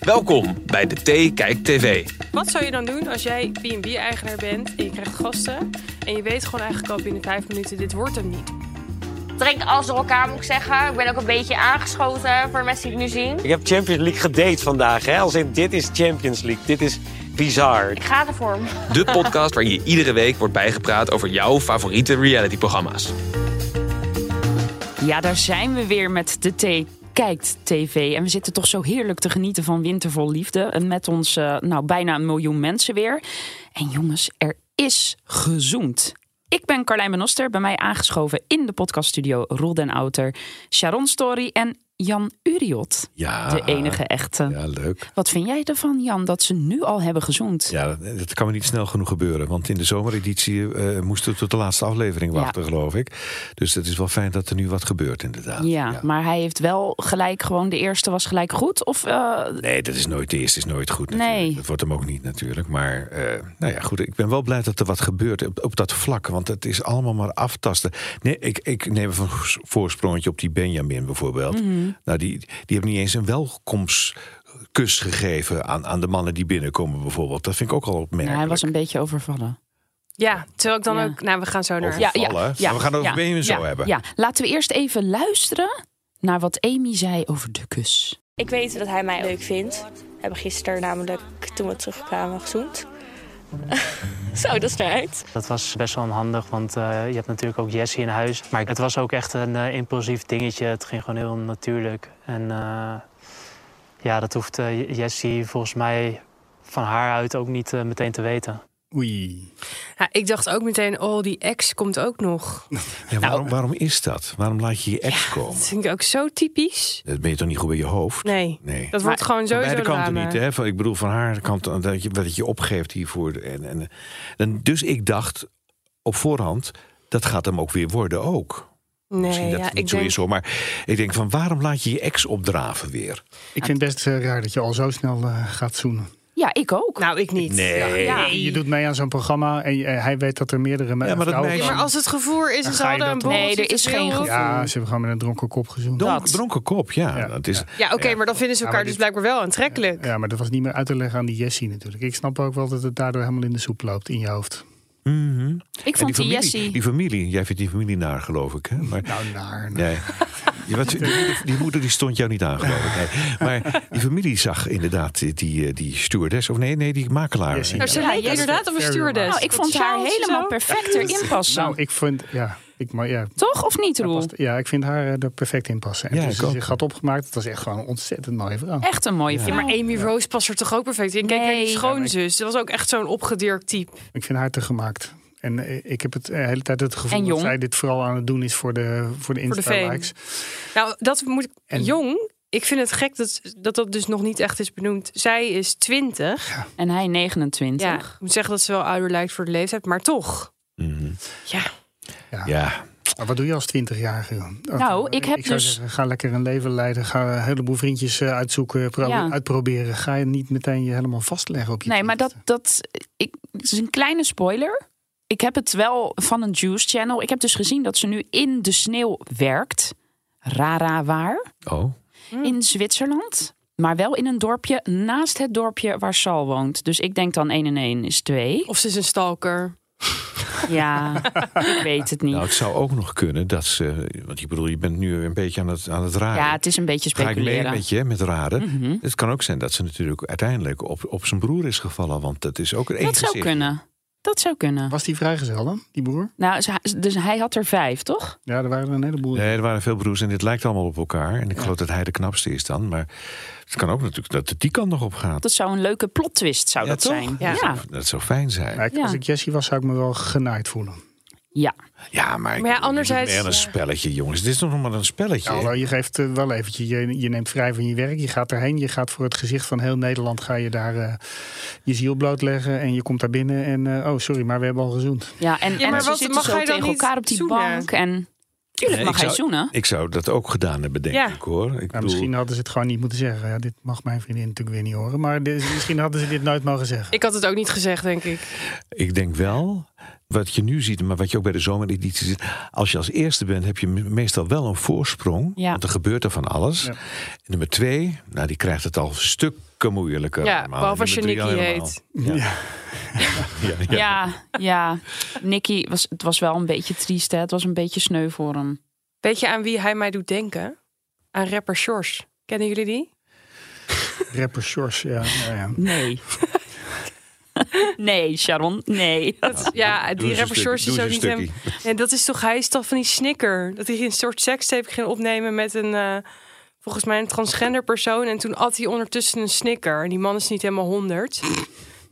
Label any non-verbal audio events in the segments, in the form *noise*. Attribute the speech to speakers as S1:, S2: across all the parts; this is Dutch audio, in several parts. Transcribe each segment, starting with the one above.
S1: Welkom bij de T Kijk TV.
S2: Wat zou je dan doen als jij B&B-eigenaar bent en je krijgt gasten... en je weet gewoon eigenlijk al binnen vijf minuten, dit wordt hem niet.
S3: trekt alles door elkaar, moet ik zeggen. Ik ben ook een beetje aangeschoten voor de mensen die het nu zien.
S4: Ik heb Champions League gedate vandaag. Hè? Als in, dit is Champions League. Dit is bizar.
S3: Ik ga ervoor.
S1: De podcast waarin je iedere week wordt bijgepraat over jouw favoriete realityprogramma's.
S5: Ja, daar zijn we weer met de thee. Kijkt TV. En we zitten toch zo heerlijk te genieten van Wintervol Liefde. En met ons, eh, nou, bijna een miljoen mensen weer. En jongens, er is gezoomd. Ik ben Carlijn Menoster, bij mij aangeschoven in de podcaststudio Roel Den Outer, Sharon Story en Jan Uriot.
S6: Ja.
S5: De enige echte.
S6: Ja, leuk.
S5: Wat vind jij ervan, Jan, dat ze nu al hebben gezoomd?
S6: Ja, dat, dat kan me niet snel genoeg gebeuren. Want in de zomereditie eh moesten we tot de laatste aflevering
S5: Ja.
S6: wachten, geloof ik. Dus het is wel fijn dat er nu wat gebeurt, inderdaad.
S5: Ja, maar hij heeft wel gelijk gewoon, de eerste was gelijk goed? Of eh,
S6: Nee, dat is nooit de eerste, is nooit goed.
S5: Nee.
S6: Natuurlijk. Dat wordt hem ook niet natuurlijk. Maar eh, nou ja, goed. Ik ben wel blij dat er wat gebeurt op, op dat vlak. Want het is allemaal maar aftasten. Nee, ik, ik neem even een voorsprongetje op die Benjamin bijvoorbeeld.
S5: Mhm.
S6: Nou, die, die hebben niet eens een welkomstkus gegeven aan, aan de mannen die binnenkomen bijvoorbeeld. Dat vind ik ook al opmerkelijk.
S5: nou, hij was een beetje overvallen.
S2: Ja, terwijl ik dan
S5: Ja.
S2: ook... Nou, we gaan zo naar...
S6: Over- vallen, hè? Maar we gaan het over Benjamin zo
S5: ja,
S6: hebben.
S5: Ja, laten we eerst even luisteren naar wat Amy zei over de kus.
S7: Ik weet dat hij mij leuk vindt. We hebben gisteren namelijk, toen we terugkwamen, gezoend. *laughs* Zo, dat is eruit.
S8: Dat was best wel onhandig, want eh, je hebt natuurlijk ook Jessie in huis. Maar het was ook echt een eh, impulsief dingetje. Het ging gewoon heel natuurlijk. En eh, ja, dat hoeft eh, Jessie volgens mij van haar uit ook niet eh, meteen te weten.
S9: Oei.
S2: Ja, Nou, ik dacht ook meteen, oh, die ex komt ook nog.
S6: Ja, waarom, waarom is dat? Waarom laat je je ex komen?
S2: Dat vind ik ook zo typisch.
S6: Dat ben je toch niet goed bij je hoofd?
S2: Nee,
S6: Nee.
S2: dat wordt gewoon
S6: Van
S2: sowieso eh.
S6: beide kanten
S2: drama.
S6: niet. Hè? Van, ik bedoel, van haar kant eh, dat je, dat je opgeeft hiervoor. En, en, en, dus ik dacht op voorhand, dat gaat hem ook weer worden ook.
S2: Nee,
S6: Misschien dat
S2: ja,
S6: het
S2: ik
S6: niet zo
S2: denk...
S6: is hoor. Maar ik denk van, waarom laat je je ex opdraven weer?
S9: Ik vind het best eh, raar dat je al zo snel eh, gaat zoenen.
S5: Ja, ik ook.
S2: Nou, ik niet.
S6: Nee.
S2: Ja.
S9: Je doet mee aan zo'n programma en je- eh, hij weet dat er meerdere me-
S6: Ja, maar dat
S9: vrouwen
S6: meisje-
S2: Ja, maar als het gevoer is,
S9: Dan
S2: is
S9: ga je
S2: hadden een
S9: dat-
S2: borreltje
S5: Nee, er
S2: te
S5: is
S2: veel
S5: geen
S2: of-
S5: gevoel.
S9: Ja, ze hebben gewoon met een dronken kop gezoend.
S6: Dronk-
S5: Dat.
S6: dronken kop, ja.
S9: Ja,
S6: dat is,
S2: Ja, oké, maar dan vinden ze
S9: Ja,
S2: elkaar
S9: maar
S2: dus blijkbaar wel aantrekkelijk.
S9: Ja, maar dat was niet meer uit te leggen aan die Jessie natuurlijk. Ik snap ook wel dat het daardoor helemaal in de soep loopt in je hoofd.
S5: Ik
S6: Mhm. En die
S5: vond die,
S6: familie,
S5: Jessie...
S6: die familie, jij vindt die familie naar, geloof ik. Hè? Maar,
S9: Nou, naar. naar. *laughs*
S6: Nee. Ja, wat- die, moeder, die moeder die stond jou niet aan, geloof ik. Nee. Maar die familie zag inderdaad die, die, eh, die stewardess. Of nee, nee, die makelaar.
S9: Yes,
S2: Nou, ze
S5: Ja,
S2: lijkt
S5: Jessie.
S2: inderdaad op een
S9: Fair
S2: stewardess.
S9: remarks.
S5: Nou, ik vond
S2: Dat
S5: haar
S2: sjaaltje
S5: helemaal
S2: zo.
S5: perfect
S6: *laughs*
S5: erin passen.
S9: Nou, ik vind, ja, ik, maar ja.
S5: Toch? Of niet,
S9: dat
S5: Roel?
S9: past- ja, ik vind haar eh, er perfect in passen. En
S6: Ja,
S9: toen
S6: ik
S9: ze
S6: ook.
S9: zich had opgemaakt, het was echt gewoon een ontzettend mooie vrouw.
S5: Echt een mooie vrouw.
S2: Ja, maar Amy Rose past er toch ook perfect in? Kijk naar die
S5: Nee.
S2: schoonzus. Dat was ook echt zo'n opgedirkt type.
S9: Ik vind haar te gemaakt. En eh, ik heb het eh, de hele tijd het
S5: En
S9: gevoel dat
S5: jong.
S9: zij dit vooral aan het doen is voor de, voor de
S2: Voor de
S9: Insta-likes.
S2: Nou, dat moet ik.
S9: En-
S2: Jong, ik vind het gek dat, dat dat dus nog niet echt is benoemd. Zij is 20.
S5: En hij 29.
S2: Ja, ik moet zeggen dat ze wel ouder lijkt voor de leeftijd, maar toch.
S6: Mhm.
S2: Ja,
S6: Ja,
S9: Maar wat doe je als 20-jarige? Of,
S5: Nou,
S9: eh,
S5: ik heb
S9: zou
S5: dus-
S9: zeggen, ga lekker een leven leiden. Ga een heleboel vriendjes eh, uitzoeken, pro-
S5: Ja.
S9: uitproberen. Ga je niet meteen je helemaal vastleggen op je
S5: Nee, maar dat,
S9: 20e.
S5: dat, ik, het is een kleine spoiler. Ik heb het wel van een Juice Channel. Ik heb dus gezien dat ze nu in de sneeuw werkt. Rara waar.
S6: oh.
S5: in Zwitserland. Maar wel in een dorpje naast het dorpje waar Sal woont. Dus ik denk dan 1 en 1 is 2.
S2: of ze is een stalker.
S5: Ja, *laughs* ik weet het niet.
S6: Nou, het zou ook nog kunnen dat ze... Want ik bedoel, je bent nu een beetje aan het, aan het raden.
S5: ja, het is een beetje
S6: Ga ik mee
S5: speculeren.
S6: met je, met raden. Het kan ook zijn dat ze natuurlijk uiteindelijk op, op zijn broer is gevallen. Want dat is ook een
S5: Dat zou kunnen. Dat zou kunnen.
S9: Was die vrijgezel dan, die broer?
S5: Nou, ze- dus hij had er vijf, toch?
S9: Ja, er waren er een heleboel.
S6: Nee, er waren veel broers en dit lijkt allemaal op elkaar. En ik geloof dat hij de knapste is dan. Maar het kan ook natuurlijk dat het die kant nog op gaat.
S5: Dat zou een leuke plot twist zou
S6: Ja,
S5: dat
S6: toch?
S5: zijn.
S2: Ja.
S5: Ja.
S6: Dat zou fijn zijn.
S9: Maar ik-
S5: Ja.
S9: Als ik Jessie was, zou ik me wel genaaid voelen.
S5: Ja,
S6: Ja, maar, ik-
S2: Maar ja,
S6: dit is
S2: anderzijds-
S6: meer een spelletje, jongens. Dit is nog maar een spelletje.
S9: Alhoewel, je geeft eh, wel eventjes, je, je neemt vrij van je werk, je gaat erheen, je gaat voor het gezicht van heel Nederland, ga je daar eh, je ziel blootleggen en je komt daar binnen en eh, oh sorry, maar we hebben al gezoend.
S5: ja en,
S2: Ja, maar
S5: en ze
S2: wat-
S5: zitten
S2: mag
S5: zo
S2: hij dan
S5: tegen
S2: niet
S5: elkaar op die
S2: zoenen?
S5: bank. En tuurlijk
S6: Nee,
S5: mag
S6: ik
S5: hij
S6: zou-
S5: zoenen.
S6: Ik zou dat ook gedaan hebben, denk
S2: Ja.
S6: ik hoor. Ik
S9: Maar
S6: bedoel,
S9: misschien hadden ze het gewoon niet moeten zeggen. Ja, dit mag mijn vriendin natuurlijk weer niet horen, maar dit- misschien hadden ze dit nooit mogen zeggen.
S2: Ik had het ook niet gezegd, denk ik.
S6: Ik denk wel, wat je nu ziet, maar wat je ook bij de zomereditie ziet. Als je als eerste bent, heb je me- meestal wel een voorsprong.
S5: Ja.
S6: Want er gebeurt er van alles.
S9: Ja.
S6: Nummer twee, nou die krijgt het al stukken moeilijker.
S2: Ja,
S6: allemaal.
S2: behalve als je
S6: Nummer drie
S2: Nicky
S6: al helemaal. Ja. Ja. *laughs* ja.
S5: Ja, ja. Nicky, was, het was wel een beetje triest. Hè? Het was een beetje sneu voor hem.
S2: Weet je aan wie hij mij doet denken? Aan rapper Shores. Kennen jullie die?
S9: Rapper Shores, ja. nou ja, ja.
S5: Nee. *laughs* nee, Sharon, nee.
S2: Dat, ja,
S6: Doe
S2: die
S6: eens een
S2: rapper Shores
S6: stukje,
S2: is
S6: doe
S2: ook
S6: eens
S2: niet
S6: een
S2: hem. En dat is toch, hij is toch van die snicker. Dat hij een soort sekstape ging opnemen met een, eh, volgens mij een transgender persoon. En toen at hij ondertussen een snicker. En die man is niet helemaal 100.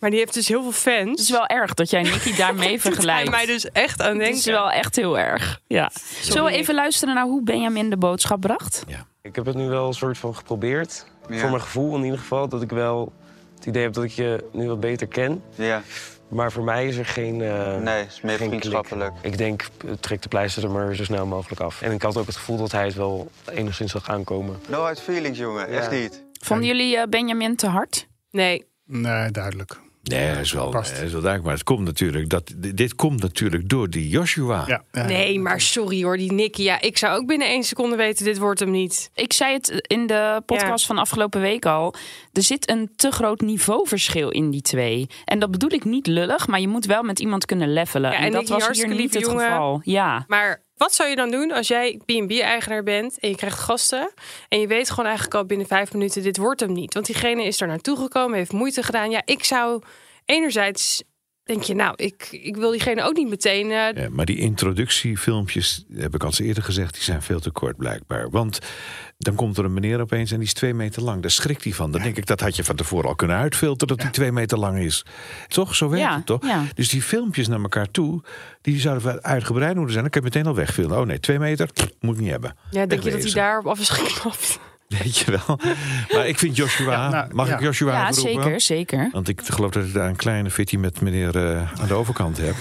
S2: Maar die heeft dus heel veel fans.
S5: Het is wel erg dat jij
S2: *laughs*
S5: Nicky daarmee vergelijkt.
S2: Hij mij dus echt aan
S5: Het
S2: denken.
S5: is wel echt heel erg. Ja. Zullen we even luisteren naar hoe Benjamin de boodschap bracht?
S4: Ik heb het nu wel een soort van geprobeerd. Voor mijn gevoel in ieder geval. Dat ik wel het idee heb dat ik je nu wat beter ken.
S10: Ja,
S4: Maar voor mij is er geen. eh,
S10: nee, het is meer
S4: geen klik.
S10: vriendschappelijk.
S4: Ik denk, eh, trek de pleister er maar zo snel mogelijk af. En ik had ook het gevoel dat hij het wel enigszins zag aankomen.
S10: No hard feelings, jongen.
S4: Ja.
S10: Echt niet.
S5: Vonden jullie eh, Benjamin te hard?
S2: Nee,
S9: Nee, duidelijk.
S6: Nee, dat is wel, dat
S9: Past.
S6: is wel duidelijk. Maar het komt natuurlijk, dat, dit komt natuurlijk door die Joshua.
S9: Ja, ja.
S2: nee, maar sorry hoor, die Nicky. Ja, ik zou ook binnen één seconde weten, dit wordt hem niet.
S5: Ik zei het in de podcast van afgelopen week al. Er zit een te groot niveauverschil in die twee. En dat bedoel ik niet lullig, maar je moet wel met iemand kunnen levelen.
S2: Ja,
S5: en,
S2: en
S5: dat
S2: Nicky,
S5: was hier
S2: hartstikke
S5: niet het
S2: lieve jongen.
S5: geval. Ja.
S2: Maar wat zou je dan doen als jij B&B-eigenaar bent en je krijgt gasten... en je weet gewoon eigenlijk al binnen vijf minuten, dit wordt hem niet. Want diegene is er naartoe gekomen, heeft moeite gedaan. Ja, ik zou enerzijds... Denk je, nou, ik, ik wil diegene ook niet meteen. eh,
S6: Ja, maar die introductiefilmpjes, heb ik al eens eerder gezegd, die zijn veel te kort blijkbaar. Want dan komt er een meneer opeens en die is twee meter lang. Daar schrikt hij van. Dan denk ik, dat had je van tevoren al kunnen uitfilteren dat hij twee meter lang is. Toch? Zo werkt
S5: Ja,
S6: het toch?
S5: ja.
S6: Dus die filmpjes naar elkaar toe, die zouden wel uitgebreid moeten zijn. Ik heb meteen al wegfilmen. Oh nee, twee meter, moet ik niet hebben.
S2: ja, denk je dat hij
S6: Wegwezen.
S2: daarop af is geknapt?
S6: *laughs* Weet je wel. Maar ik vind Joshua,
S9: Ja, nou,
S6: mag
S9: ja.
S6: ik Joshua
S5: Ja,
S6: even roepen?
S5: zeker, zeker.
S6: Want ik geloof dat ik daar een kleine fitty met meneer eh, aan de overkant
S9: *laughs*
S6: heb.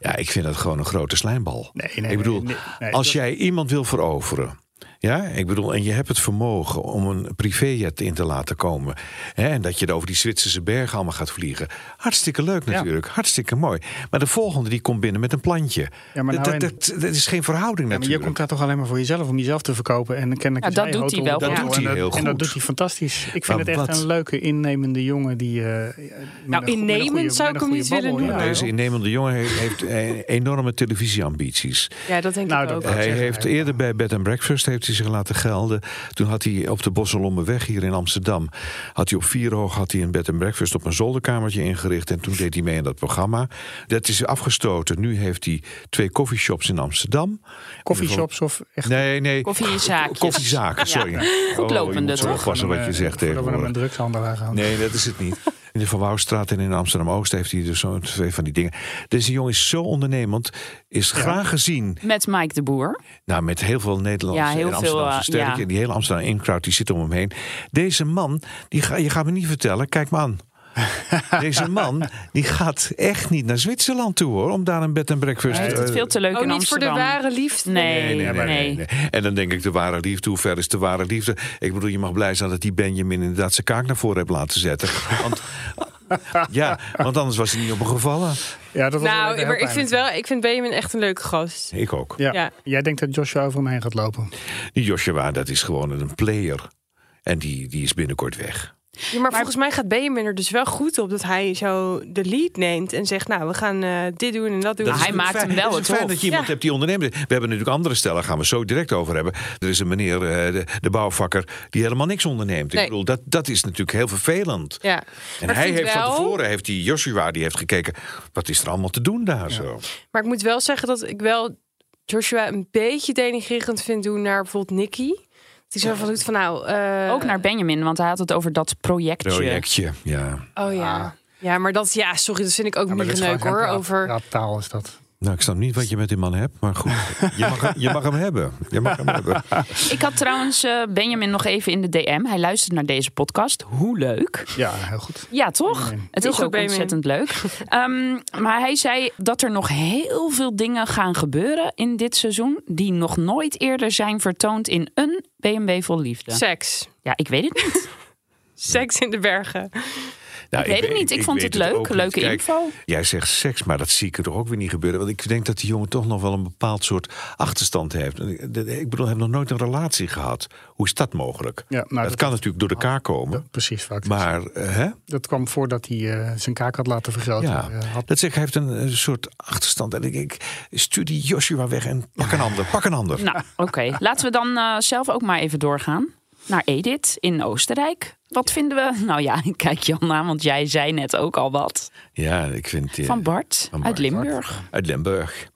S6: ja, ik vind dat gewoon een grote slijmbal.
S9: Nee, nee,
S6: ik bedoel,
S9: nee, nee, nee,
S6: als
S9: dat-
S6: jij iemand wil veroveren. Ja, ik bedoel, en je hebt het vermogen om een privéjet in te laten komen. Hè, en dat je er over die Zwitserse bergen allemaal gaat vliegen. Hartstikke leuk natuurlijk, hartstikke mooi. Maar de volgende die komt binnen met een plantje.
S9: Ja, maar nou
S6: dat,
S9: en-
S6: dat, dat is geen verhouding
S9: Ja, maar je
S6: natuurlijk.
S9: komt daar toch alleen maar voor jezelf om jezelf te verkopen. En dan ken ik
S2: Nou,
S5: Ja, dat
S9: is
S5: doet
S9: hotel,
S5: hij wel.
S9: hotel.
S5: Dat
S6: doet hij
S9: en
S6: heel
S9: En
S6: goed.
S9: dat doet hij fantastisch. Ik vind
S6: Maar
S9: het echt
S6: wat-
S9: een leuke, innemende jongen die. eh, met een goe-
S2: Nou, innemend
S9: met een goede-
S2: zou ik
S9: met
S2: hem
S9: een
S2: niet
S9: goede
S2: willen
S9: babbel,
S2: noemen.
S9: ja.
S6: Deze innemende jongen heeft, heeft eh, enorme televisieambities.
S2: Ja, dat denk
S9: Nou,
S2: ik
S9: dat-
S2: ook.
S9: Ja.
S6: Hij
S9: zeggen,
S6: heeft
S9: hij-
S6: eerder bij Bed and Breakfast heeft hij zich laten gelden. Toen had hij op de Bosselommeweg hier in Amsterdam... had hij op Vierhoog had hij een Bed and Breakfast op een zolderkamertje ingericht... en toen deed hij mee in dat programma. Dat is afgestoten. Nu heeft hij twee coffeeshops in Amsterdam.
S9: Coffeeshops of echt.
S6: Nee, nee.
S5: Koffiezaakjes.
S6: Koffiezaken, sorry.
S5: goedlopende,
S6: Oh, je moet zo
S5: toch?
S6: oppassen wat je zegt
S9: Voordat we naar
S6: tegenwoordig.
S9: een drugshandelaar gaan.
S6: Nee, dat is het niet. In de Van Wouwstraat en in Amsterdam-Oost heeft hij dus zo'n twee van die dingen. Deze jongen is zo ondernemend, is graag gezien.
S5: Met Mike de Boer.
S6: Nou, met heel veel Nederlandse
S5: Ja, heel
S6: en
S5: veel,
S6: Amsterdamse
S5: eh,
S6: sterren.
S5: ja.
S6: En die hele Amsterdam in-crowd die zit om hem heen. Deze man, die ga, je gaat me niet vertellen, kijk me aan. Deze man die gaat echt niet naar Zwitserland toe hoor, om daar een bed en breakfast
S5: Hij heeft het
S6: eh,
S5: veel te leuk
S2: Oh,
S5: in
S2: niet voor de
S5: Amsterdam.
S2: ware liefde.
S5: Nee, nee, nee.
S6: nee. En dan denk ik, de ware liefde, hoe ver is de ware liefde? Ik bedoel, je mag blij zijn dat die Benjamin inderdaad zijn kaak naar voren heeft laten zetten. Want, ja, want anders was hij niet op hem gevallen.
S9: Ja, dat was wel even
S2: Nou,
S9: heel
S2: maar ik
S9: pijnlijk.
S2: vind wel, ik vind Benjamin echt een leuke gast.
S6: Ik ook.
S9: Ja.
S2: Ja.
S9: Jij denkt dat Joshua over hem heen gaat lopen.
S6: Die Joshua, dat is gewoon een player. En die, die is binnenkort weg.
S2: Ja, maar, volgens mij gaat Benjamin er dus wel goed op dat hij zo de lead neemt en zegt, nou, we gaan eh, dit doen en dat doen.
S5: Dat is Nou, Hij maakt
S6: fijn.
S5: hem wel
S6: Het is
S5: het
S6: fijn
S5: hof.
S6: dat je iemand
S2: Ja.
S6: hebt die onderneemt. We hebben natuurlijk andere stellen, gaan we zo direct over hebben. Er is een meneer, eh, de, de bouwvakker, die helemaal niks onderneemt.
S2: Nee.
S6: Ik bedoel, dat, dat is natuurlijk heel vervelend.
S2: ja.
S6: En
S2: Maar ik
S6: hij
S2: vind
S6: heeft van
S2: wel-
S6: tevoren, heeft die Joshua, die heeft gekeken... wat is er allemaal te doen daar zo?
S5: Dus,
S2: Maar ik moet wel zeggen dat ik wel Joshua een beetje denigrerend vind doen naar bijvoorbeeld Nicky. Die zo van doet van nou. eh,
S5: Ook naar Benjamin, want hij had het over dat projectje.
S6: Projectje, ja.
S2: Oh ja. Ja, maar dat ja, sorry, dat vind ik ook
S9: Ah. Ja,
S2: niet
S9: maar dat is
S2: leuk
S9: gewoon
S2: nou hoor.
S9: zijn praat-
S2: Over
S9: praattaal is dat.
S6: Nou, ik snap niet wat je met die man hebt, maar goed. Je mag, hem- je mag hem hebben. Je mag hem hebben.
S5: Ik had trouwens eh, Benjamin nog even in de DM. Hij luistert naar deze podcast. Hoe leuk.
S9: Ja, heel goed.
S5: Ja, toch? Het
S2: Heel
S5: is
S2: goed,
S5: ook
S2: Benjamin.
S5: ontzettend leuk. Ehm, maar hij zei dat er nog heel veel dingen gaan gebeuren in dit seizoen... die nog nooit eerder zijn vertoond in een BMW Vol Liefde.
S2: Seks.
S5: Ja, ik weet het niet.
S2: Seks in de bergen.
S6: Nou,
S5: ik weet het niet. Ik, vond
S6: weet
S5: het leuk.
S6: ook niet.
S5: Leuke
S6: Kijk,
S5: info.
S6: Jij zegt seks, maar dat zie ik er ook weer niet gebeuren. Want ik denk dat die jongen toch nog wel een bepaald soort achterstand heeft. Ik bedoel, hij heeft nog nooit een relatie gehad. Hoe is dat mogelijk?
S9: Ja, nou,
S6: dat,
S9: dat-
S6: kan natuurlijk door de elkaar komen.
S9: Precies, vaak.
S6: Maar eh, hè?
S9: Dat kwam voordat hij eh, zijn kaak had laten vergroten.
S6: Ja,
S9: Eh, had
S6: dat zeg ik, hij heeft een, eh, soort achterstand. En ik, ik stuur die Joshua weg en pak een ander, pak een ander.
S5: Nou, oké. Laten we dan eh, zelf ook maar even doorgaan naar Edith in Oostenrijk. Wat vinden we? Nou ja, *laughs* ik kijk Jan aan, want jij zei net ook al wat.
S6: Ja, ik vind... eh,
S5: Van Bart,
S6: Van
S5: uit
S6: Bart.
S5: Limburg.
S6: Uit Limburg.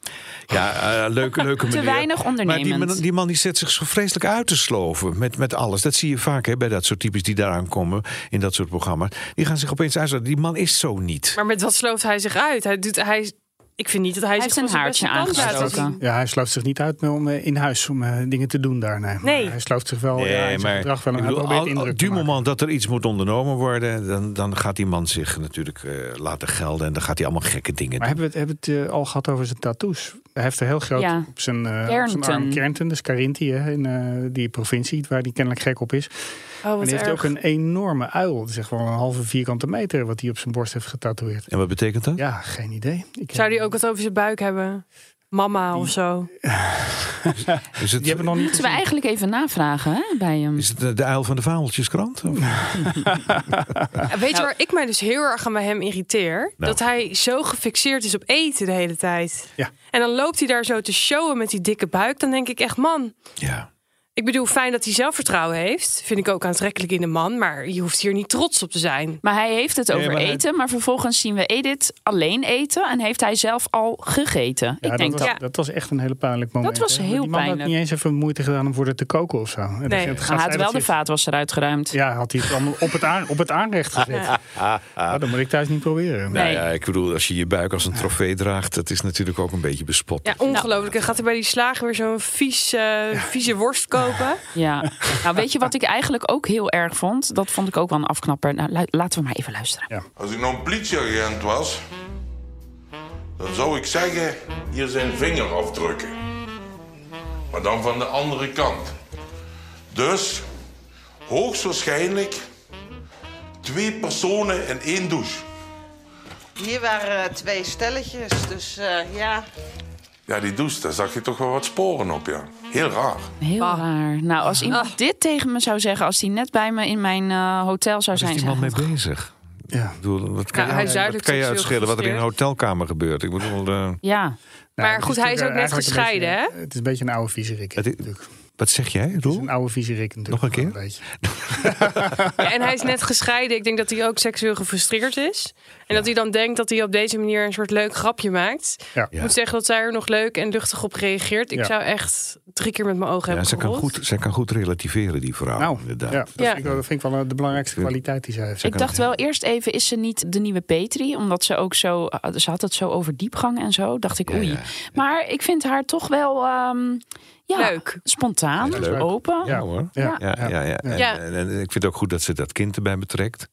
S6: Ja, eh, leuke, leuke
S5: Te
S6: meneer.
S5: weinig ondernemend.
S6: Maar die, man- die man die zet zich zo vreselijk uit te sloven met, met alles. Dat zie je vaak hè, bij dat soort types die daaraan komen in dat soort programma's. Die gaan zich opeens uitsloven. Die man is zo niet.
S2: Maar met wat slooft hij zich uit? Hij doet, hij, ik vind niet dat hij,
S5: Hij
S2: zich
S5: heeft een
S2: van zijn beste
S5: haartje
S2: kant laat zien.
S5: aangestoken.
S9: Ja, hij sluit zich niet uit om eh, in huis om eh, dingen te doen daar. Nee, Maar
S2: Nee.
S9: hij sluit zich wel Oh ja, in zijn gedrag wel
S6: ik
S9: een
S6: bedoel,
S9: probeert
S6: al- al-
S9: indruk te
S6: die
S9: maken.
S6: moment dat er iets moet ondernomen worden, dan, dan gaat die man zich natuurlijk eh, laten gelden. En dan gaat hij allemaal gekke dingen
S9: Maar hebben we het, hebben we het eh, al gehad over zijn tattoos? Hij heeft er heel groot
S5: Ja.
S9: op zijn, eh op zijn
S5: Kärnten.
S9: arm Kärnten, dus Carinthi, hè, in eh, die provincie waar hij kennelijk gek op is.
S2: Oh,
S9: en
S2: wat
S9: hij heeft
S2: erg.
S9: ook een enorme uil, dat is echt wel een halve vierkante meter, wat hij op zijn borst heeft getatoeëerd.
S6: doen. En wat betekent dat?
S9: Ja, geen idee. Ik
S2: Zou hij ook wat over zijn buik hebben? Mama of zo.
S6: Is het,
S9: Die hebben nog niet
S5: Moeten we eigenlijk even navragen hè, bij hem.
S6: is het eh, de, de uil van de vameltjeskrant? Of?
S2: Weet je waar ik mij dus heel erg aan bij hem irriteer? Dat hij zo gefixeerd is op eten de hele tijd.
S9: Ja.
S2: En dan loopt hij daar zo te showen met die dikke buik. Dan denk ik echt, man.
S6: Ja.
S2: Ik bedoel, fijn dat hij zelfvertrouwen heeft. Vind ik ook aantrekkelijk in een man. Maar je hoeft hier niet trots op te zijn.
S5: Maar hij heeft het over
S9: maar hij-
S5: eten, maar vervolgens zien we Edith alleen eten en heeft hij zelf al gegeten.
S9: Ja,
S5: ik denk
S9: dat,
S5: dat.
S9: was,
S2: dat-
S9: dat was echt een hele pijnlijk moment.
S5: Dat was
S9: hè.
S5: heel
S9: die man had
S5: pijnlijk.
S9: niet eens even moeite gedaan om voor haar te koken of zo. En dan
S2: Nee.
S9: gaat
S5: Maar
S9: zij
S5: hij had wel
S9: dat
S5: de
S9: hij-
S5: vaat was eruit geruimd.
S9: Ja, had hij het allemaal op het, aan, op het aanrecht gezet. Nou, dat moet ik thuis niet proberen.
S6: Nou
S5: Nee.
S6: ja, ik bedoel, als je je buik als een trofee draagt, dat is natuurlijk ook een beetje bespot.
S2: Ja, ongelooflijk. Dan gaat hij bij die slager weer zo'n vies, eh, vieze worst kopen.
S5: Ja. Nou, weet je wat ik eigenlijk ook heel erg vond? Dat vond ik ook wel een afknapper. Nou, lu- laten we maar even luisteren.
S10: Als ik nou een politieagent was, dan zou ik zeggen: hier zijn vingerafdrukken. Maar dan van de andere kant. Dus hoogstwaarschijnlijk twee personen in één douche.
S4: Hier waren eh, twee stelletjes, dus ja.
S10: Ja, die douche, daar zag je toch wel wat sporen op, ja. Heel raar.
S5: Heel
S2: Ah.
S5: raar. Nou, als iemand dit tegen me zou zeggen, als hij net bij me in mijn eh, hotel zou
S6: Waar
S5: zijn.
S6: is die
S5: zou
S6: man
S5: ik
S6: mee
S5: gewoon-
S6: bezig?
S9: Ja.
S6: Ik bedoel, wat kan,
S2: Nou, hij is
S6: je, wat
S2: duidelijk
S6: kan je
S2: seksueel
S6: uitschelen wat er in een
S2: gefrustreerd.
S6: hotelkamer gebeurt? Ik bedoel, eh,
S5: Ja,
S2: Maar goed, hij is ook net gescheiden, hè?
S9: Het is een beetje een oude viezerik.
S6: Het is-
S9: natuurlijk. Het
S6: wat zeg jij,
S9: is
S6: Roel?
S9: een oude viezerik natuurlijk.
S6: Nog een
S9: wel
S6: keer?
S9: beetje.
S2: Ja, en hij is net gescheiden. Ik denk dat hij ook seksueel gefrustreerd is. En dat hij dan denkt dat hij op deze manier een soort leuk grapje maakt.
S9: Ja.
S2: Ik moet zeggen dat zij er nog leuk en luchtig op reageert. Ik
S9: Ja.
S2: zou echt drie keer met mijn ogen
S6: Ja,
S2: hebben
S6: ze kan,
S2: gerold.
S6: goed, ze kan goed relativeren, die vrouw.
S9: Nou,
S6: inderdaad.
S9: ja, dat,
S2: Ja.
S9: Vind ik wel, dat vind ik wel eh, de belangrijkste kwaliteit die zij heeft.
S5: ik dacht wel eerst even, is ze niet de nieuwe Petri? Omdat ze ook zo, eh, ze had het zo over diepgang en zo. Dacht ik, oei.
S6: ja, ja.
S5: Maar ik vind haar toch wel ehm, ja,
S2: Leuk.
S5: spontaan,
S6: Ja, leuk.
S5: open. Ja.
S6: Ja, hoor.
S9: Ja.
S6: Ja, ja, ja. En,
S2: Ja.
S6: en- en ik vind het ook goed dat ze dat kind erbij betrekt.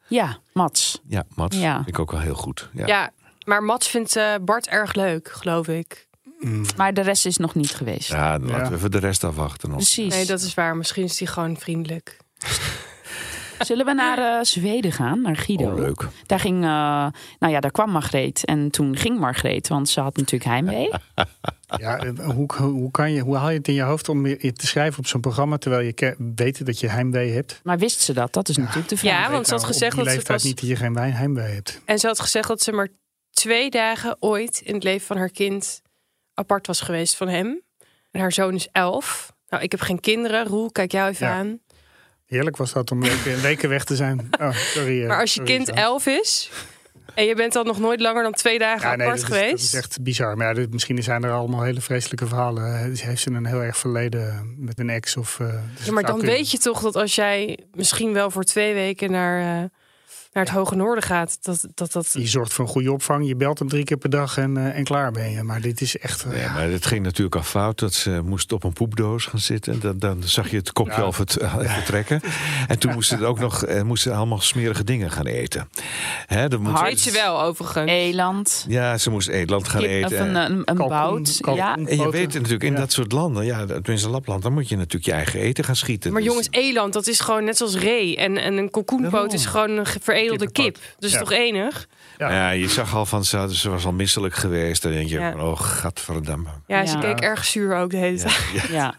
S5: Mats.
S6: Ja, Mats.
S5: Ja.
S6: Vind ik ook wel heel goed. Ja.
S2: Ja, maar Mats vindt eh, Bart erg leuk, geloof ik.
S5: Maar de rest is nog niet geweest.
S6: Ja, dan laten
S9: Ja.
S6: we even de rest afwachten. Nog.
S5: Precies.
S2: Nee, dat is waar. Misschien is hij gewoon vriendelijk.
S5: Zullen we naar eh, Zweden gaan, naar Guido?
S6: Oh, leuk.
S5: Daar ging, eh, nou ja, daar kwam Margreet en toen ging Margreet, want ze had natuurlijk heimwee.
S9: Ja, eh, hoe, hoe, kan je, hoe haal je het in je hoofd om je te schrijven op zo'n programma... terwijl je ke- weet dat je heimwee hebt?
S5: Maar wist ze dat? Dat is natuurlijk de vraag.
S2: Ja, want ze had
S9: Nou,
S2: gezegd
S9: op die
S2: dat ze
S9: leeftijd
S2: pas...
S9: niet dat je geen wijn heimwee hebt.
S2: En ze had gezegd dat ze maar twee dagen ooit in het leven van haar kind apart was geweest van hem. En haar zoon is elf. Nou, ik heb geen kinderen. Roel, kijk jou even
S9: Ja.
S2: aan.
S9: Heerlijk
S5: *laughs*
S9: was dat om weken, weken weg te zijn. Oh, sorry. eh,
S2: Maar als je
S9: sorry,
S2: kind
S9: zo.
S2: elf is en je bent dan nog nooit langer dan twee dagen
S9: Ja, nee, dat
S2: apart
S9: is,
S2: geweest.
S9: dat is echt bizar. Maar ja, dit- misschien zijn er allemaal hele vreselijke verhalen. Dus Heeft ze een heel erg verleden met een ex? Of, eh, dus
S2: Ja, maar
S9: het zou
S2: dan
S9: kunnen.
S2: weet je toch dat als jij misschien wel voor twee weken naar, eh, naar het hoge noorden gaat. Dat, dat, dat...
S9: Je zorgt voor een goede opvang, je belt hem drie keer per dag en, eh, en klaar ben je. Maar dit is echt... eh,
S6: Ja, maar het ging natuurlijk al fout dat ze moest op een poepdoos gaan zitten. Dan, dan zag je het kopje
S9: Ja.
S6: al vert- eh, vertrekken. En toen moesten ze ook nog eh, moesten ze allemaal smerige dingen gaan eten. Hè, dan moet-
S2: Weet je wel, overigens.
S5: Eland.
S6: Ja, ze moest eetland gaan
S5: Kip-
S6: eten.
S5: of een, eh, een, een bout. Ja.
S6: En je weet het natuurlijk, in dat soort landen, ja, tenminste Lapland, dan moet je natuurlijk je eigen eten gaan schieten.
S2: Maar
S6: Dus-
S2: jongens, eland, dat is gewoon net zoals ree. En, en een kalkoenpoot is gewoon een ge- veredelde kip. Dus
S6: Ja.
S2: toch enig?
S6: ja. je zag al van, ze, had- ze was al misselijk geweest. Dan denk je,
S2: Ja.
S6: van, oh, gadverdamme.
S2: Ja, ze keek erg zuur ook de hele tijd.
S5: *laughs* Ja.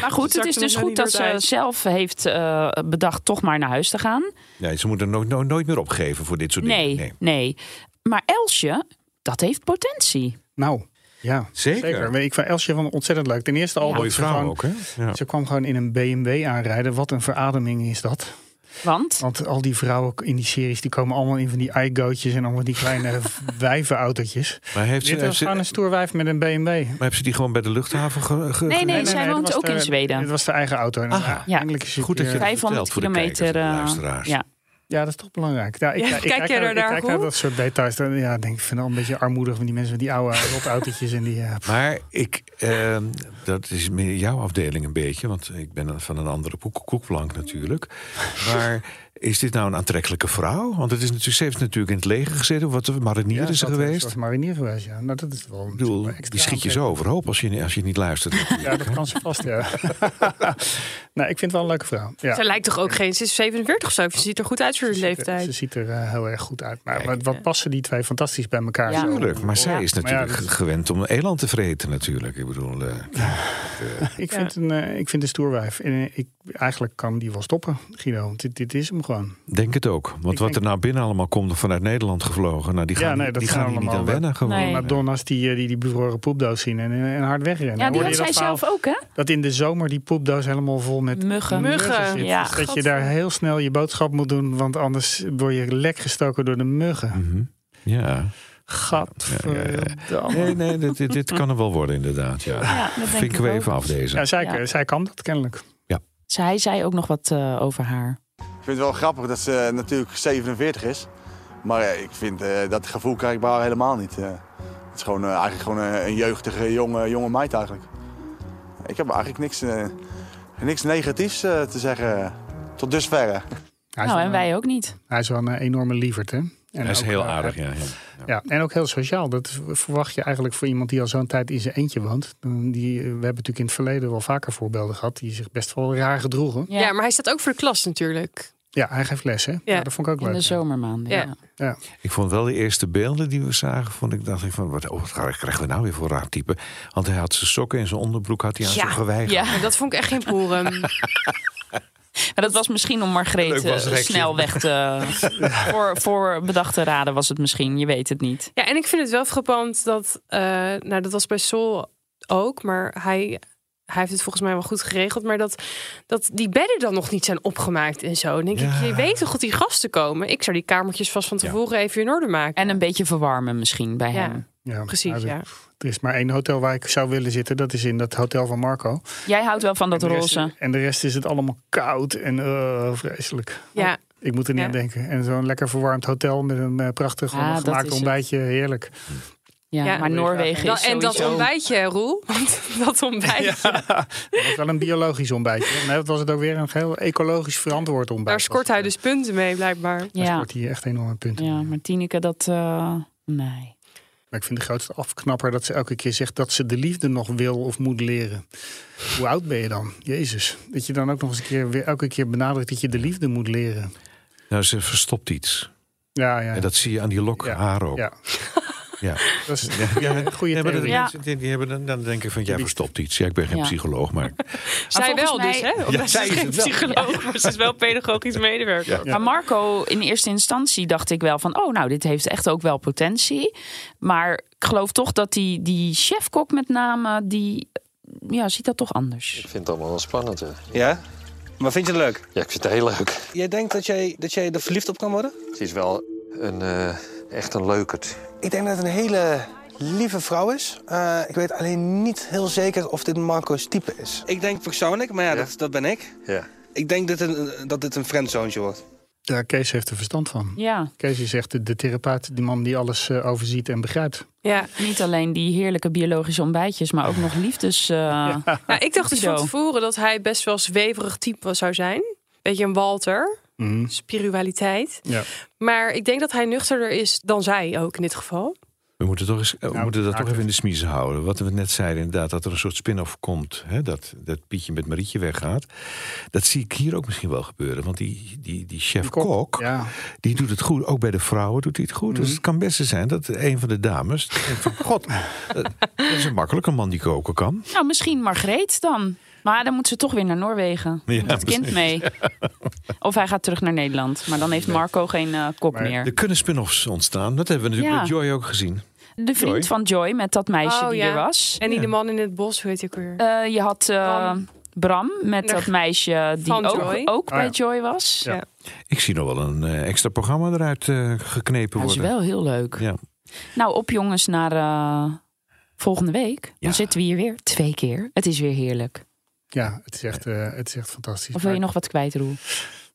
S5: Maar goed, het
S2: Zakte
S5: is
S2: me
S5: dus
S2: zo
S5: goed
S2: niet
S5: dat
S2: door het
S5: ze
S2: ijs.
S5: zelf heeft eh, bedacht toch maar naar huis te gaan.
S6: Nee, ze moeten nooit, nooit, nooit meer opgeven voor dit soort
S5: Nee,
S6: dingen.
S5: nee, Maar Elsje, dat heeft potentie.
S9: Nou, ja.
S6: Zeker.
S9: Maar Ik vind Elsje van ontzettend leuk. Ten eerste al
S6: Oh,
S5: Ja.
S9: dat
S5: Mooie
S9: ze
S5: vrouw
S9: gewoon-
S6: ook, hè? Ja.
S9: Ze kwam gewoon in een BMW aanrijden. Wat een verademing is dat.
S5: Want?
S9: Want al die vrouwen in die series, die komen allemaal in van die iGoatjes en allemaal die
S5: *laughs*
S9: kleine wijvenautootjes.
S6: Maar heeft ze,
S9: Dit
S6: heeft
S9: was
S6: ze,
S9: gewoon een stoer wijf met een BMW.
S6: maar heeft ze die gewoon bij de luchthaven ge, ge-
S5: Nee, nee,
S9: Nee, nee,
S5: zij
S9: nee,
S5: woont
S9: dat was
S5: ook in
S9: de-
S5: Zweden.
S9: Dit was de eigen auto. En ja, eindelijk is het
S6: Goed dat
S9: weer-
S6: je dat
S5: 500
S6: vertelt voor de
S5: kilometer,
S6: kijkers en de
S5: eh,
S6: luisteraars.
S5: ja.
S9: Ja, dat is toch belangrijk. Ja, ik,
S2: Ja,
S9: kijk, ik
S2: kijk
S9: kijk,
S2: jij
S9: naar,
S2: er
S9: ik
S2: naar
S9: kijk
S2: op?
S9: naar dat soort details. Dan, ja, ik denk, ik vind het al een beetje armoedig van die mensen met die oude
S2: *laughs*
S9: rotautootjes. En die, eh,
S6: Maar ik, ehm, dat is meer jouw afdeling een beetje, want ik ben van een andere koek- koekplank natuurlijk. Maar is dit nou een aantrekkelijke vrouw? Want het is natuurlijk, ze heeft natuurlijk in het leger gezeten, of wat marinier
S9: ja,
S6: is ze
S9: dat
S6: geweest.
S9: was marinier geweest, ja. Nou, dat is wel
S6: Ik bedoel, die schiet je zo overhoop als je, als je niet luistert.
S9: Ja, dat kan ze vast, ja. nou, ik vind het wel een leuke vrouw. Ja.
S2: Ze lijkt toch ook geen... Ze is 47 of zo. Ze ziet er goed uit voor haar
S9: Ze
S2: leeftijd.
S9: ziet er eh, heel erg goed uit. Maar wat, wat passen die twee fantastisch bij elkaar?
S2: Ja.
S9: zo.
S6: Tuurlijk, maar zij is
S9: Maar ja,
S6: natuurlijk
S9: dat-
S6: gewend om eland te vreten natuurlijk. Ik bedoel, eh,
S9: Ik vind, een, eh, ik vind een stoerwijf. En eh, ik, eigenlijk kan die wel stoppen, Guido. Want dit, dit is hem gewoon.
S6: denk het ook. Want wat er nou binnen allemaal komt vanuit Nederland gevlogen, nou, die gaan, die- die gaan hier niet aan wennen gewoon.
S9: Nee. Madonna's die, eh, die die bevroren poepdoos zien en, eh, en hard wegrennen.
S5: Ja, die
S9: Hoorde
S5: had
S9: je
S5: zij
S9: dat verhaal?
S5: zelf ook, hè?
S9: Dat in de zomer die poepdoos helemaal vol met
S5: Muggen. Muggen,
S9: zit.
S5: ja.
S9: Dus dat je daar heel snel je boodschap moet doen, want anders word je lek gestoken door de muggen.
S6: Ja.
S9: Gadverdamme.
S6: Nee, nee, dit, dit, dit kan er wel worden inderdaad. Ja.
S5: Eh, Ja, dat denk
S6: Vinken we
S5: ik ook.
S6: even af deze.
S9: Ja, zij,
S5: Ja.
S9: zij kan dat kennelijk.
S5: Zij zei ook nog wat eh, over haar.
S11: Ik vind het wel grappig dat ze eh, natuurlijk 47 is. Maar eh, ik vind eh, dat gevoel krijg ik bij haar helemaal niet. eh. het is gewoon, eh, eigenlijk gewoon eh, een jeugdige jonge, jonge meid eigenlijk. Ik heb eigenlijk niks, eh, niks negatiefs eh, te zeggen. Tot dusverre.
S9: Hij
S5: nou,
S9: is wel
S5: en
S9: een-
S5: wij ook niet.
S9: Hij is wel een eh, enorme lieverd, hè? En
S6: Hij is
S9: ook,
S6: heel
S9: eh,
S6: aardig, ja. ja.
S9: Ja, en ook heel sociaal. Dat verwacht je eigenlijk voor iemand die al zo'n tijd in zijn eentje woont. Dan Die, we hebben natuurlijk in het verleden wel vaker voorbeelden gehad die zich best wel raar gedroegen.
S2: Ja. maar hij staat ook voor de klas natuurlijk.
S9: Ja, hij geeft les, hè? Ja, dat vond ik ook
S5: In
S9: leuk.
S5: de zomermaanden, ja.
S2: Ja.
S9: Ja.
S6: Ik vond wel de eerste beelden die we zagen, vond ik, dacht ik van, wat, oh, wat krijgen we nou weer voor raar type? Want hij had zijn sokken en zijn onderbroek had hij aan zijn geweigerd.
S2: ja, dat vond ik echt geen poeren.
S9: *laughs*
S5: Maar dat was misschien om
S6: Leuk
S5: Margreet eh,
S6: was het hekje.
S5: snel weg te...
S9: *laughs*
S5: voor, voor bedacht te raden was het misschien, je weet het niet.
S2: Ja, en ik vind het wel frappant dat, eh, nou dat was bij Sol ook, maar hij, hij heeft het volgens mij wel goed geregeld, maar dat, dat die bedden dan nog niet zijn opgemaakt en zo. Dan denk ik, je weet toch dat die gasten komen? Ik zou die kamertjes vast van tevoren even in orde maken.
S5: En een beetje verwarmen misschien bij
S2: Ja.
S5: hem.
S9: Ja,
S2: Precies,
S9: nou,
S2: ja.
S9: Er is maar één hotel waar ik zou willen zitten. Dat is in dat hotel van Marco.
S5: Jij houdt wel van dat
S9: En de rest-
S5: roze.
S9: En de rest is het allemaal koud en eh, vreselijk.
S2: Ja,
S9: Ik moet er niet
S2: Ja. Ah,
S9: aan denken. En zo'n lekker verwarmd hotel met een eh, prachtig
S5: Ja,
S9: allemaal
S5: dat is
S9: gemaakt
S5: het.
S9: ontbijtje. Heerlijk.
S5: Ja,
S2: Ja.
S5: maar Noorwegen
S2: Dan-
S5: is
S2: en dat
S5: sowieso-
S2: ontbijtje, Roel, want *laughs* dat ontbijtje,
S9: Dat was wel een biologisch ontbijtje. Nee, dat was het ook weer een heel ecologisch verantwoord ontbijt.
S2: daar scoort hij dus punten mee blijkbaar.
S9: Daar
S5: Ja.
S9: scoort hij echt enorme punten.
S5: ja, maar Tineke, dat... eh, nee.
S9: Maar ik vind de grootste afknapper dat ze elke keer zegt dat ze de liefde nog wil of moet leren. Hoe oud ben je dan? Jezus. Dat je dan ook nog eens een keer weer elke keer benadrukt dat je de liefde moet leren.
S6: Nou, ze verstopt iets.
S9: Ja, ja.
S6: En dat zie je aan die lok
S9: Ja.
S6: haar ook.
S9: ja.
S6: Ja.
S9: Dat is
S6: Ja, ja.
S9: een goede
S6: Nee, maar dat
S9: theorie.
S6: mensen die, die hebben dan, dan denken van, jij verstopt iets. Ja, ik ben geen
S5: Ja.
S6: psycholoog, maar...
S2: Zij
S5: Ah, volgens
S2: wel
S5: mij-
S2: dus, hè?
S6: Ja,
S2: Omdat
S6: zij
S2: ze
S6: is
S2: geen
S6: het wel.
S2: psycholoog, maar ze is wel pedagogisch medewerker.
S6: Ja.
S5: Maar Marco, in eerste instantie dacht ik wel van... oh, nou, dit heeft echt ook wel potentie. Maar ik geloof toch dat die, die chefkok met name... die ja, ziet dat toch anders.
S12: Ik vind het allemaal wel spannend. Hè.
S13: Ja? Maar vind je het leuk?
S12: Ja, ik vind het heel leuk.
S13: Jij denkt dat jij, dat jij er verliefd op kan worden?
S12: Ze is wel een, eh, echt een leukert.
S13: Ik denk dat het een hele lieve vrouw is. Eh, ik weet alleen niet heel zeker of dit Marco's type is. Ik denk persoonlijk, maar ja, Dat, dat ben ik.
S12: Ja.
S13: Ik denk dat, het een- dat dit een friendzoontje wordt.
S9: Ja, Kees heeft er verstand van.
S5: Ja.
S9: Kees is echt de, de therapeut, die man die alles eh, overziet en begrijpt.
S2: Ja.
S5: Niet alleen die heerlijke biologische ontbijtjes, maar ook nog
S6: *laughs*
S5: liefdes. eh,
S2: Nou, ik dacht dus van
S5: Zo.
S2: tevoren dat hij best wel zweverig type zou zijn. Beetje een Walter.
S9: Mhm.
S2: Spiritualiteit.
S6: Ja.
S2: Maar ik denk dat hij nuchterder is dan zij ook in dit geval.
S6: We moeten, toch eens, eh,
S9: Nou,
S6: we moeten dat toch even in de smiezen houden. Wat we net zeiden, inderdaad, dat er een soort spin-off komt. Hè? Dat, dat Pietje met Marietje weggaat. Dat zie ik hier ook misschien wel gebeuren. Want die, die, die chef-kok, die doet het goed. Ook bij de vrouwen doet hij het goed. Dus
S9: Mhm.
S6: het kan best zo zijn dat een van de dames denkt van...
S9: *laughs*
S6: God, eh, dat is een makkelijke man die koken kan.
S5: Nou, misschien Margreet dan. Maar dan moet ze toch weer naar Noorwegen.
S6: Ja,
S5: Met het kind
S6: precies. *laughs*
S5: mee. Of hij gaat terug naar Nederland. Maar dan heeft Marco geen eh, kop meer.
S6: Er kunnen spin-offs ontstaan. Dat hebben we natuurlijk
S5: Ja.
S6: met Joy ook gezien.
S5: De vriend
S6: Joy.
S5: van Joy met dat meisje
S2: Oh,
S5: die
S2: ja.
S5: er was.
S2: En die de man in het bos, weet ik weer.
S5: Eh, je had eh, Bram met dat meisje die
S2: van
S5: ook,
S2: Joy.
S5: ook
S2: Ah,
S5: bij
S2: ja.
S5: Joy was.
S2: Ja.
S6: Ik zie nog wel een eh, extra programma eruit eh, geknepen
S5: Dat is
S6: worden.
S5: wel heel leuk.
S6: Ja.
S5: Nou, op jongens naar eh, volgende week. Dan zitten we hier weer twee keer. Het is weer heerlijk.
S9: Ja, het is echt, eh, het is echt fantastisch.
S5: Of wil je
S9: Maar-
S5: nog wat kwijt, Roel?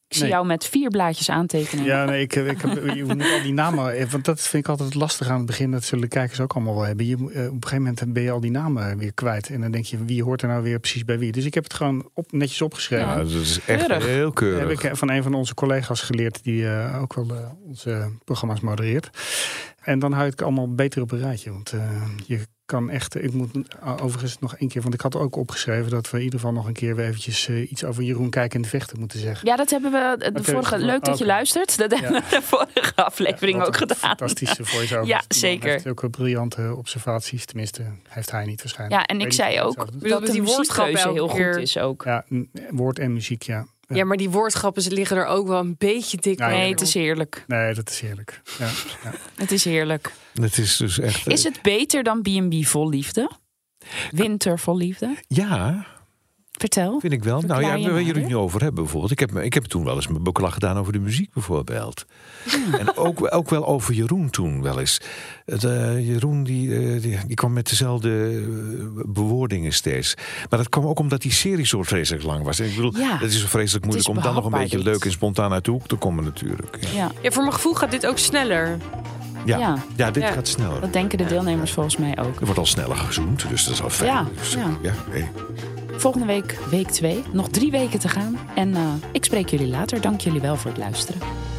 S5: Ik zie
S9: Nee.
S5: jou met vier blaadjes aantekenen.
S9: Ja, nee, ik, ik heb,
S5: *laughs*
S9: je moet al die namen. eh, Want dat vind ik altijd lastig aan het begin. Dat zullen de kijkers ook allemaal wel hebben. Je, moet- eh, op een gegeven moment ben je al die namen weer kwijt. En dan denk je, wie hoort er nou weer precies bij wie? Dus ik heb het gewoon op, netjes opgeschreven.
S6: Ja, dat is echt Keurig. heel keurig.
S9: Dat heb ik van een van onze collega's geleerd. Die eh, ook wel eh, onze programma's modereert. En dan hou ik het allemaal beter op een rijtje. Want eh, je kan echt... Ik moet eh, overigens nog één keer... Want ik had ook opgeschreven dat we in ieder geval nog een keer... weer eventjes eh, iets over Jeroen Kijken en de Vechten moeten zeggen.
S5: Ja, dat hebben we eh, de
S9: Oké,
S5: vorige.
S9: goed.
S5: Leuk dat je
S9: Oké.
S5: luistert. Dat hebben we de vorige aflevering ook gedaan.
S9: Fantastische voice-over.
S5: Ja,
S9: eh. Die man
S5: zeker.
S9: Heeft ook wel briljante observaties. Tenminste, heeft hij niet waarschijnlijk.
S5: Ja, en ik
S9: weet
S5: zei
S9: niet of
S5: ook
S9: hij het zelf doet.
S2: Bedoel,
S5: dat
S2: met
S5: die
S2: die woordgrap
S5: muziekgeuze heel
S2: elke
S5: goed
S2: keer.
S5: is ook.
S9: Ja, n- woord en muziek, ja.
S2: Ja, maar die woordgrappen ze liggen er ook wel een beetje dik
S9: Ja, ja.
S2: mee.
S9: Nee, het is
S5: heerlijk.
S9: Nee, dat is heerlijk. Ja, ja.
S5: Het is heerlijk.
S6: Het is dus echt... eh,
S5: Is het beter dan B&B vol liefde? Winter vol liefde?
S6: eh, Ja,
S5: Vertel.
S6: vind ik wel. Nou
S5: Verklaar
S6: ja,
S5: je
S6: waar jullie
S5: nader?
S6: het nu over hebben bijvoorbeeld. Ik heb, me- ik heb toen wel eens mijn beklag gedaan over de muziek bijvoorbeeld. En ook, ook wel over Jeroen toen wel eens. Het, eh, Jeroen die, eh, die, die kwam met dezelfde eh, bewoordingen steeds. Maar dat kwam ook omdat die serie zo vreselijk lang was. En ik bedoel,
S2: Ja.
S6: dat is zo vreselijk
S2: is
S6: moeilijk om dan nog een
S2: behapbaar
S6: beetje
S2: dit.
S6: leuk en spontaan uit de hoek te komen natuurlijk. Ja,
S5: Ja.
S2: Ja, voor mijn gevoel gaat dit ook sneller.
S6: ja.
S5: Ja.
S6: dit
S2: Ja.
S6: gaat sneller.
S5: Dat denken de deelnemers volgens mij ook.
S6: Er wordt al sneller gezoend, dus dat is al fijn.
S5: Ja,
S6: Dus,
S5: ja.
S6: ja nee.
S5: Volgende week, week 2. Nog drie weken te gaan. En eh, ik spreek jullie later. Dank jullie wel voor het luisteren.